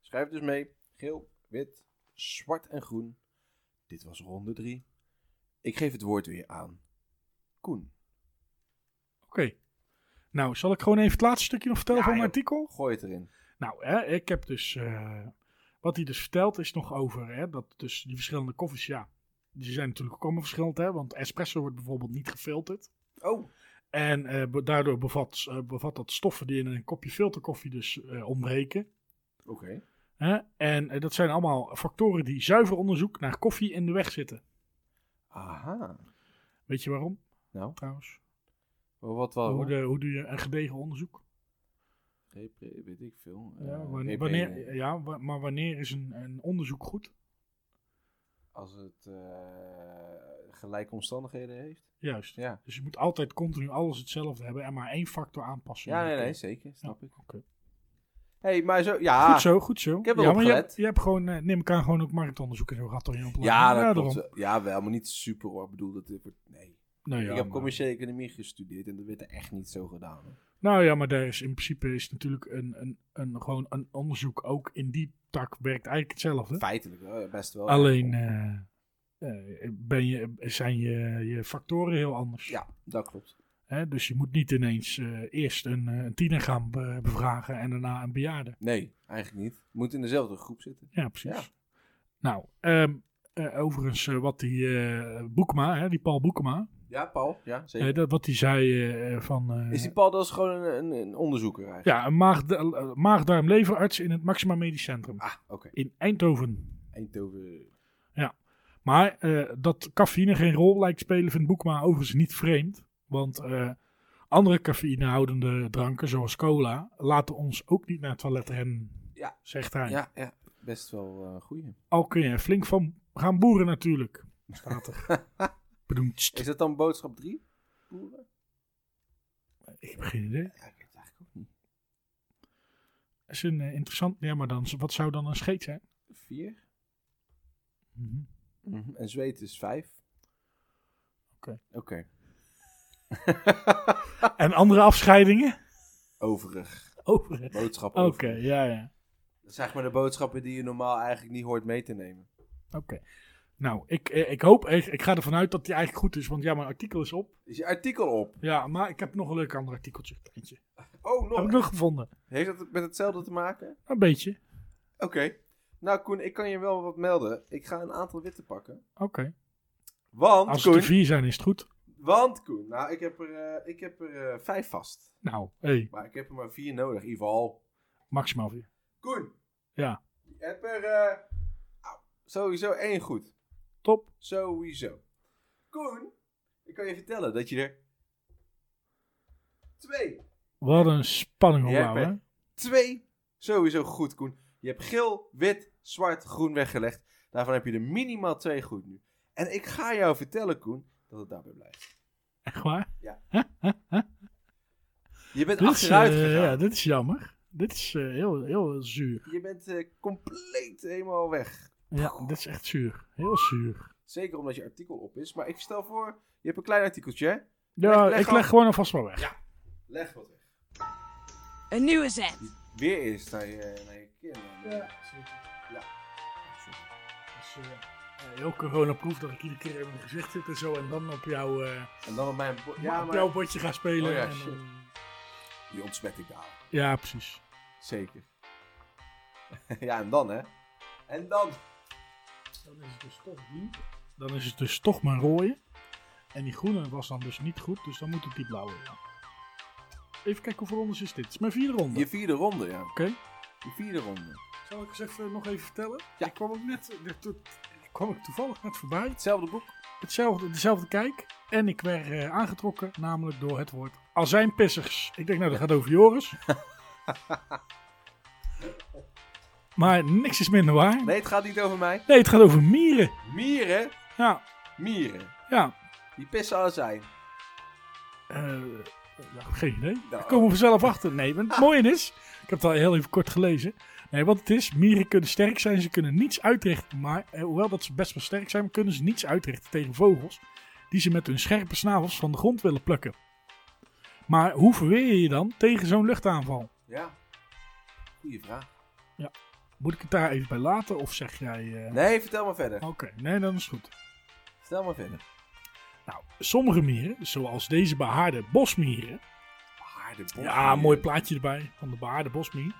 Speaker 2: Schrijf dus mee. Geel, wit, zwart en groen. Dit was ronde 3. Ik geef het woord weer aan Koen.
Speaker 3: Oké. Nou, zal ik gewoon even het laatste stukje nog vertellen
Speaker 2: Ja,
Speaker 3: van mijn
Speaker 2: joh.
Speaker 3: artikel?
Speaker 2: Gooi het erin.
Speaker 3: Nou, hè, ik heb dus. eh, wat hij dus vertelt is nog over. Hè, dat dus die verschillende koffies, ja. Die zijn natuurlijk ook allemaal verschillend, hè? Want espresso wordt bijvoorbeeld niet gefilterd.
Speaker 2: Oh.
Speaker 3: En eh, be- daardoor bevat, eh, bevat dat stoffen die in een kopje filterkoffie dus eh, ontbreken.
Speaker 2: Oké.
Speaker 3: Hè? En eh, dat zijn allemaal factoren die zuiver onderzoek naar koffie in de weg zitten.
Speaker 2: Aha.
Speaker 3: Weet je waarom?
Speaker 2: Nou?
Speaker 3: Trouwens.
Speaker 2: Wat wel?
Speaker 3: Hoe, de- hoe doe je een gedegen onderzoek?
Speaker 2: Repre- weet ik veel.
Speaker 3: Ja,
Speaker 2: Eh,
Speaker 3: wanneer,
Speaker 2: repre-
Speaker 3: wanneer, ja, wa- maar wanneer is een, een onderzoek goed?
Speaker 2: Als het eh gelijke omstandigheden heeft.
Speaker 3: Juist.
Speaker 2: Ja.
Speaker 3: Dus je moet altijd continu alles hetzelfde hebben en maar één factor aanpassen.
Speaker 2: Ja, nee, nee, zeker. Snap ik.
Speaker 3: Oké.
Speaker 2: hey, maar zo... Ja.
Speaker 3: Goed zo, goed zo.
Speaker 2: Ik heb
Speaker 3: ja,
Speaker 2: erop
Speaker 3: maar je
Speaker 2: gelet.
Speaker 3: hebt, je hebt gewoon, eh, neem ik aan, gewoon ook marktonderzoek en zo gehad door je opleiding.
Speaker 2: Ja, dat
Speaker 3: daarom.
Speaker 2: klopt. Ja, wel, maar niet super hoor. Ik bedoel, dat dit wordt... Nee.
Speaker 3: Nou ja,
Speaker 2: ik heb
Speaker 3: maar-
Speaker 2: commerciële economie gestudeerd en dat werd er echt niet zo gedaan. hoor.
Speaker 3: Nou ja, maar daar is in principe is natuurlijk een, een, een, gewoon een onderzoek ook in die tak werkt eigenlijk hetzelfde.
Speaker 2: Feitelijk wel, ja, best wel.
Speaker 3: Alleen eh, eh, ben je, zijn je, je factoren heel anders.
Speaker 2: Ja, dat klopt.
Speaker 3: Hè? Dus je moet niet ineens eh, eerst een, eh, een tiener gaan be- bevragen en daarna een bejaarde.
Speaker 2: Nee, eigenlijk niet. Je moet in dezelfde groep zitten.
Speaker 3: Ja, precies. Nou, ehm, eh, overigens, eh, wat die eh, Boekma, hè, die Paul Boekma,
Speaker 2: Ja, Paul? Ja, zeker.
Speaker 3: eh, dat, wat hij zei eh, van... eh,
Speaker 2: is die Paul, dat is gewoon een, een, een onderzoeker eigenlijk?
Speaker 3: Ja, een maag, maagdarm-leverarts in het Maxima Medisch Centrum
Speaker 2: Ah, oké.
Speaker 3: in Eindhoven.
Speaker 2: Eindhoven.
Speaker 3: Maar eh, dat cafeïne geen rol lijkt te spelen vindt Boekma overigens niet vreemd. Want eh, andere cafeïnehoudende dranken, zoals cola, laten ons ook niet naar het toilet rennen,
Speaker 2: Ja.
Speaker 3: zegt hij.
Speaker 2: Ja, ja. Best wel eh goeie.
Speaker 3: Al kun je er flink van gaan boeren natuurlijk, staat er. Bedoemtst.
Speaker 2: Is dat dan boodschap 3? Boeren?
Speaker 3: Ik heb geen idee.
Speaker 2: Ja, ik weet het eigenlijk ook niet.
Speaker 3: is een eh, interessant. Ja, maar dan, wat zou dan een scheet zijn?
Speaker 2: 4? Mhm. En zweet is 5.
Speaker 3: Oké.
Speaker 2: Oké.
Speaker 3: En andere afscheidingen?
Speaker 2: Overig.
Speaker 3: Over. Oké,
Speaker 2: Boodschap overig.
Speaker 3: ja, ja.
Speaker 2: Dat zijn zeg maar de boodschappen die je normaal eigenlijk niet hoort mee te nemen.
Speaker 3: Oké. Nou, ik, eh, ik hoop, ik, ik ga ervan uit dat die eigenlijk goed is, want ja, mijn artikel is op.
Speaker 2: Is je artikel op?
Speaker 3: Ja, maar ik heb nog een leuk ander artikeltje. Kleintje.
Speaker 2: Oh, nog.
Speaker 3: Heb ik nog gevonden.
Speaker 2: Heeft dat met hetzelfde te maken?
Speaker 3: Een beetje.
Speaker 2: Oké. Nou, Koen, ik kan je wel wat melden. Ik ga een aantal witte pakken.
Speaker 3: Oké.
Speaker 2: Want,
Speaker 3: Als het
Speaker 2: Koen,
Speaker 3: er vier zijn, is het goed.
Speaker 2: Want Koen, nou, ik heb er, eh, ik heb er eh, vijf vast.
Speaker 3: Nou, hey,
Speaker 2: Maar ik heb er maar vier nodig, Ival.
Speaker 3: maximaal vier.
Speaker 2: Koen.
Speaker 3: Ja.
Speaker 2: Ik heb er eh, au, sowieso één goed.
Speaker 3: Top.
Speaker 2: Sowieso. Koen, ik kan je vertellen dat je er twee
Speaker 3: Wat een spanning
Speaker 2: Ja,
Speaker 3: opbouwen.
Speaker 2: ik
Speaker 3: hè?
Speaker 2: twee sowieso goed, Koen. Je hebt geel, wit, zwart, groen weggelegd. Daarvan heb je er minimaal twee goed nu. En ik ga jou vertellen, Koen, dat het daarbij blijft.
Speaker 3: Echt waar?
Speaker 2: Je bent
Speaker 3: Dit is, eh,
Speaker 2: achteruit gegaan.
Speaker 3: ja, dit is jammer. Dit is eh, heel, heel zuur.
Speaker 2: Je bent eh, compleet helemaal weg.
Speaker 3: Ja, dit is echt zuur. Heel zuur.
Speaker 2: Zeker omdat je artikel op is. Maar ik stel voor, je hebt een klein artikeltje, hè?
Speaker 3: Ja,
Speaker 2: Leg- leg
Speaker 3: ik
Speaker 2: al-
Speaker 3: leg gewoon alvast maar weg.
Speaker 2: Leg wat weg.
Speaker 1: Een nieuwe zet.
Speaker 2: Weer eens naar je, naar je kin.
Speaker 3: Dus, eh, eh, heel coronaproof dat ik iedere keer in mijn gezicht zit en zo. En dan op, jou, eh,
Speaker 2: En dan op mijn... bo- Ja,
Speaker 3: op
Speaker 2: maar...
Speaker 3: jouw bordje ga spelen.
Speaker 2: Oh ja,
Speaker 3: en dan-
Speaker 2: shit. Die ontsmet ik daar.
Speaker 3: ja, precies.
Speaker 2: Zeker. ja, en dan, hè? En dan...
Speaker 3: Dan is het dus toch niet. Dan is het dus toch maar rooien. En die groene was dan dus niet goed, dus dan moet het die blauwe. ja. Even kijken hoeveel rondes is dit. Het is mijn vierde ronde.
Speaker 2: Je vierde ronde, ja.
Speaker 3: Oké.
Speaker 2: Je vierde ronde.
Speaker 3: Zal ik eens even, nog even vertellen?
Speaker 2: Ja.
Speaker 3: Ik kwam ook net, dit- dit- ik kwam ook toevallig net voorbij.
Speaker 2: Hetzelfde boek.
Speaker 3: Hetzelfde, dezelfde kijk. En ik werd eh, aangetrokken, namelijk door het woord azijnpissers. Ik denk, nou, dat gaat over Joris. maar niks is minder waar.
Speaker 2: Nee, het gaat niet over mij.
Speaker 3: Nee, het gaat over mieren.
Speaker 2: Mieren.
Speaker 3: Ja,
Speaker 2: Mieren.
Speaker 3: ja.
Speaker 2: Die pissen al zijn.
Speaker 3: Eh, ja, geen idee.
Speaker 2: Nou. Ah.
Speaker 3: Daar komen we vanzelf achter. Nee, maar het mooie is, ik heb het al heel even kort gelezen. Nee, wat het is, mieren kunnen sterk zijn, ze kunnen niets uitrichten. Maar eh, hoewel dat ze best wel sterk zijn, kunnen ze niets uitrichten tegen vogels. Die ze met hun scherpe snavels van de grond willen plukken. Maar hoe verweer je je dan tegen zo'n luchtaanval?
Speaker 2: Ja. Goeie vraag.
Speaker 3: Moet ik het daar even bij laten of zeg jij... eh,
Speaker 2: Nee, vertel maar verder.
Speaker 3: Oké, nee, dan is het goed.
Speaker 2: Vertel maar verder.
Speaker 3: Nou, sommige mieren, zoals deze behaarde bosmieren...
Speaker 2: Paardenbos.
Speaker 3: Ja, mooi
Speaker 2: eh.
Speaker 3: plaatje erbij van de behaarde bosmier.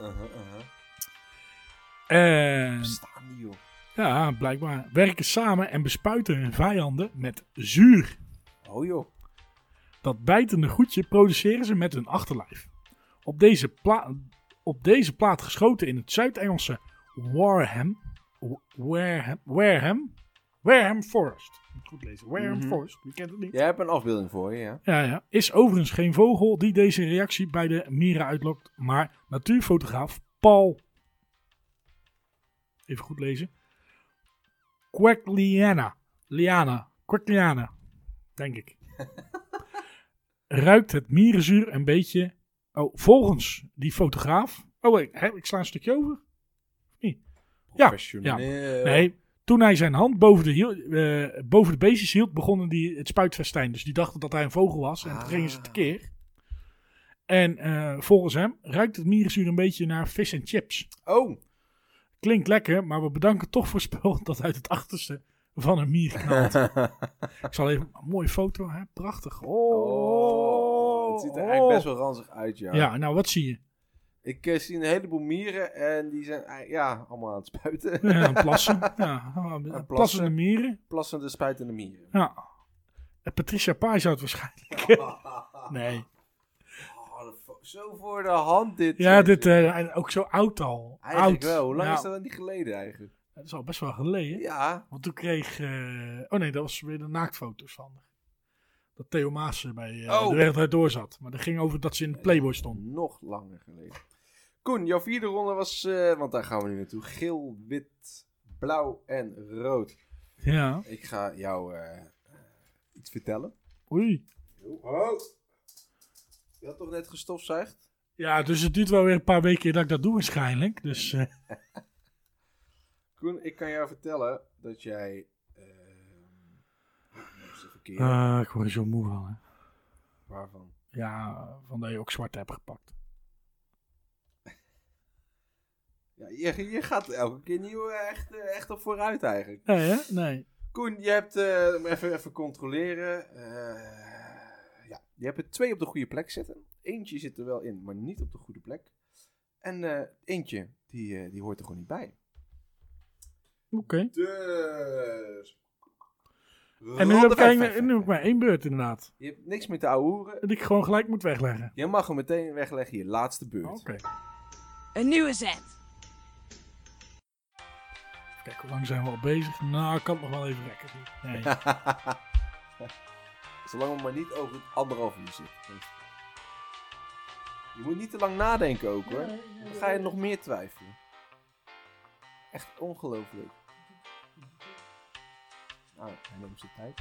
Speaker 2: Uh-huh,
Speaker 3: En
Speaker 2: Bestaan die, joh.
Speaker 3: Ja, blijkbaar. Werken samen en bespuiten hun vijanden met zuur.
Speaker 2: Oh, joh.
Speaker 3: Dat bijtende goedje produceren ze met hun achterlijf. Op deze, pla- op deze plaat geschoten in het Zuid-Engelse Warham. Wa- Wareham. Wareham. Wareham Forest. Ik moet goed lezen. Wareham
Speaker 2: Mhm.
Speaker 3: Forest. Wie kent het niet?
Speaker 2: Jij hebt een afbeelding voor je, ja.
Speaker 3: Ja, ja. Is overigens geen vogel die deze reactie bij de mieren uitlokt, maar natuurfotograaf Paul. Even goed lezen. Quackliana. Liana. Quackliana. Denk ik. Ruikt het mierenzuur een beetje. Oh, volgens die fotograaf. Oh, wait, hè, ik sla een stukje over.
Speaker 2: Professioneel.
Speaker 3: Nee, toen hij zijn hand boven de, hiel- eh, boven de beestjes hield, begonnen die het spuitfestijn. Dus die dachten dat hij een vogel was en
Speaker 2: Ah.
Speaker 3: toen gingen ze tekeer. En eh, volgens hem ruikt het mierenzuur een beetje naar vis en chips.
Speaker 2: Oh,
Speaker 3: Klinkt lekker, maar we bedanken toch voor spul dat uit het achterste van een mier knalt. Ik zal even een mooie foto, hè? prachtig. Oh,
Speaker 2: oh. Het ziet er eigenlijk best wel ranzig uit, ja.
Speaker 3: Ja, nou wat zie je?
Speaker 2: Ik eh, zie een heleboel mieren en die zijn eh, ja, allemaal aan het spuiten.
Speaker 3: Ja, plassen. Ja, plassen. Plassende mieren.
Speaker 2: Plassende, spuitende mieren.
Speaker 3: Ja. Eh, Patricia Pai zou het waarschijnlijk. Nee.
Speaker 2: Oh, dat vo- Ah, zo voor de hand dit.
Speaker 3: Ja,
Speaker 2: eh,
Speaker 3: dit eh, en ook zo oud al.
Speaker 2: Eigenlijk
Speaker 3: oud. Nou.
Speaker 2: wel. Hoe lang
Speaker 3: Ja,
Speaker 2: is dat dan niet geleden eigenlijk?
Speaker 3: dat is al best wel geleden.
Speaker 2: Ja.
Speaker 3: Want toen kreeg... eh, oh nee, dat was weer de naaktfoto's van. Dat Theo Maas bij eh
Speaker 2: Oh.
Speaker 3: de wereld door zat. Maar dat ging over dat ze in de Playboy stond.
Speaker 2: Nog langer geleden. Koen, jouw vierde ronde was, eh, want daar gaan we nu naartoe. Geel, wit, blauw en rood.
Speaker 3: Ja.
Speaker 2: Ik ga jou eh, eh, iets vertellen.
Speaker 3: Oei.
Speaker 2: Oh. Je had toch net gestofzuigd?
Speaker 3: Ja, dus het duurt wel weer een paar weken dat ik dat doe waarschijnlijk. Dus eh,
Speaker 2: Koen, ik kan jou vertellen dat jij... oh, Uh, dat is verkeerd.
Speaker 3: eh, ik word er zo moe van. Hè.
Speaker 2: Waarvan?
Speaker 3: Ja, van dat je ook zwart hebt gepakt.
Speaker 2: Ja, je, je gaat elke keer nieuw eh, echt, eh, echt op vooruit eigenlijk.
Speaker 3: Nee, hè? Nee.
Speaker 2: Koen, je hebt, eh, om even, even controleren. Eh, ja, je hebt er twee op de goede plek zitten. Eentje zit er wel in, maar niet op de goede plek. En eh, eentje, die, eh, die hoort er gewoon niet bij.
Speaker 3: Oké.
Speaker 2: Dus.
Speaker 3: En nu heb,
Speaker 2: Random
Speaker 3: ik eigenlijk-
Speaker 2: effect.
Speaker 3: nu heb ik maar één beurt inderdaad.
Speaker 2: Je hebt niks meer te ouwehoeren.
Speaker 3: Dat ik gewoon gelijk moet wegleggen.
Speaker 2: Je mag hem meteen wegleggen, je laatste beurt.
Speaker 3: Oké.
Speaker 1: Een nieuwe zet.
Speaker 3: Kijk, hoe lang zijn we al bezig? Nou, ik kan het nog wel even rekken. Nee.
Speaker 2: Zolang we maar niet over het anderhalf uur zitten. Je moet niet te lang nadenken ook hoor. Dan ga je nog meer twijfelen. Echt ongelooflijk. Nou, hij neemt zijn tijd.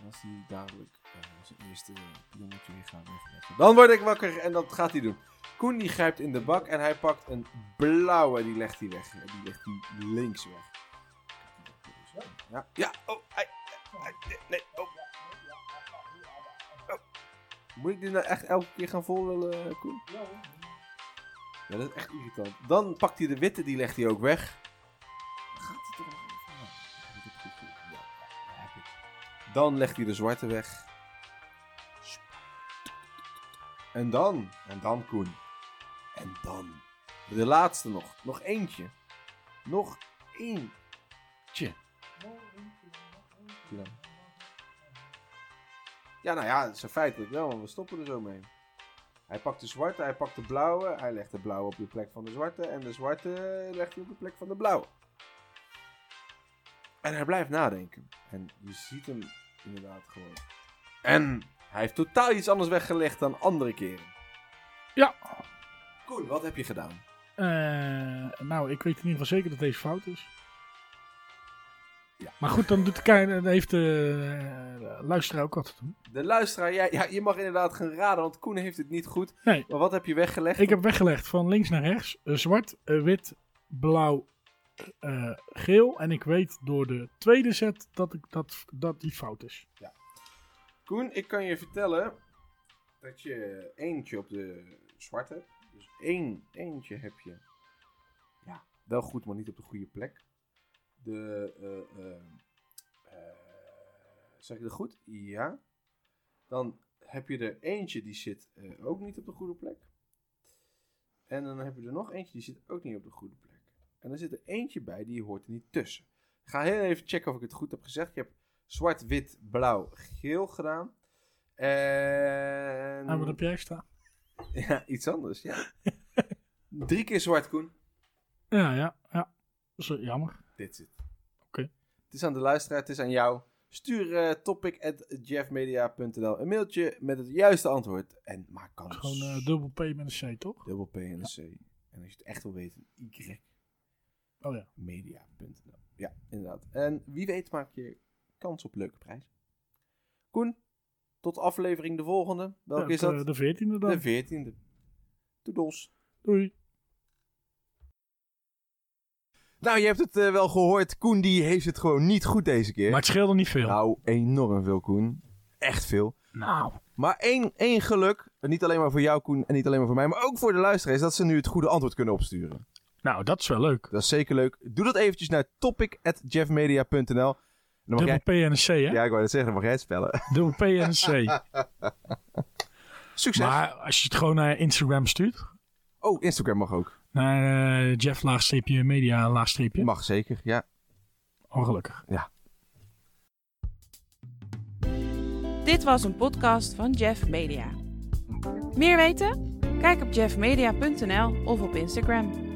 Speaker 2: En als hij dadelijk eh, zijn eerste jongetje weer gaat wegleggen. Dan word ik wakker en dat gaat hij doen. Koen die grijpt in de bak en hij pakt een blauwe. Die legt hij weg. En die legt hij links weg. Ja, ja. Oh, hij, hij- nee, oh. Moet ik dit nou echt elke keer gaan volrollen, eh, Koen? Ja, dat is echt irritant. Dan pakt hij de witte, die legt hij ook weg. Dan Gaat hij toch nog even? Ja, heb ik het goed gedaan? Ja, ja, heb ik. Dan legt hij de zwarte weg. En dan, en dan Koen. En dan. De laatste nog. Nog eentje. Nog eentje. Doe dan. Ja, nou ja, dat is feitelijk wel, want we stoppen er zo mee. Hij pakt de zwarte, hij pakt de blauwe. Hij legt de blauwe op de plek van de zwarte. En de zwarte legt hij op de plek van de blauwe. En hij blijft nadenken. En je ziet hem inderdaad gewoon. En hij heeft totaal iets anders weggelegd dan andere keren.
Speaker 3: Ja.
Speaker 2: Koen, wat heb je gedaan?
Speaker 3: Eh, nou, ik weet in ieder geval zeker dat deze fout is.
Speaker 2: Ja.
Speaker 3: Maar goed, dan doet de kei- dan heeft de eh, luisteraar ook wat te doen.
Speaker 2: De luisteraar, ja, ja, je mag inderdaad gaan raden, want Koen heeft het niet goed.
Speaker 3: Nee.
Speaker 2: Maar wat heb je weggelegd?
Speaker 3: Ik heb weggelegd van links naar rechts. eh, zwart, eh, wit, blauw, eh, geel. En ik weet door de tweede set dat, ik, dat, dat die fout is.
Speaker 2: Koen, ik kan je vertellen dat je eentje op de zwarte hebt. Dus één, eentje heb je. Ja, wel goed, maar niet op de goede plek. De, eh, eh, eh, zeg ik dat goed? Ja. Dan heb je er eentje die zit eh, ook niet op de goede plek. En dan heb je er nog eentje die zit ook niet op de goede plek. En er zit er eentje bij die hoort er niet tussen. Ik ga heel even checken of ik het goed heb gezegd. Je hebt zwart, wit, blauw, geel gedaan. En...
Speaker 3: En wat heb jij staan?
Speaker 2: Ja, iets anders, ja. Drie keer zwart, Koen.
Speaker 3: Ja, ja, ja. Zo, jammer.
Speaker 2: Dit zit.
Speaker 3: Oké.
Speaker 2: Het is aan de luisteraar, het is aan jou. Stuur eh, topic.jeffmedia.nl een mailtje met het juiste antwoord en maak kans.
Speaker 3: Gewoon eh, dubbel P met een C, toch?
Speaker 2: Dubbel P en een C. En als je het echt wil weten,
Speaker 3: Oh ja.
Speaker 2: ymedia.nl. Ja, inderdaad. En wie weet maak je kans op leuke prijs. Koen, tot aflevering de volgende. Welke
Speaker 3: Ja,
Speaker 2: is dat?
Speaker 3: de- De veertiende dan.
Speaker 2: De veertiende. Toedels.
Speaker 3: Doei.
Speaker 2: Nou, je hebt het eh, wel gehoord. Koen die heeft het gewoon niet goed deze keer.
Speaker 3: Maar het scheelde niet veel.
Speaker 2: Nou, enorm veel, Koen. Echt veel.
Speaker 3: Nou.
Speaker 2: Maar één, één geluk, niet alleen maar voor jou, Koen, en niet alleen maar voor mij, maar ook voor de luisteraars, dat ze nu het goede antwoord kunnen opsturen.
Speaker 3: Nou, dat is wel leuk.
Speaker 2: Dat is zeker leuk. Doe dat eventjes naar topic.jeffmedia.nl. Dan mag
Speaker 3: Dubbel
Speaker 2: jij...
Speaker 3: P en een C, hè?
Speaker 2: Ja, ik wou dat zeggen, dan mag jij het spellen.
Speaker 3: Dubbel P en een C.
Speaker 2: Succes!
Speaker 3: maar als je het gewoon naar Instagram stuurt,
Speaker 2: Oh, Instagram mag ook.
Speaker 3: naar eh, Jeff laagstreepje media laagstreepje.
Speaker 2: Mag zeker, ja.
Speaker 3: Ongelukkig.
Speaker 1: Dit was een podcast van Jeff Media. Meer weten? Kijk op jeffmedia.nl of op Instagram.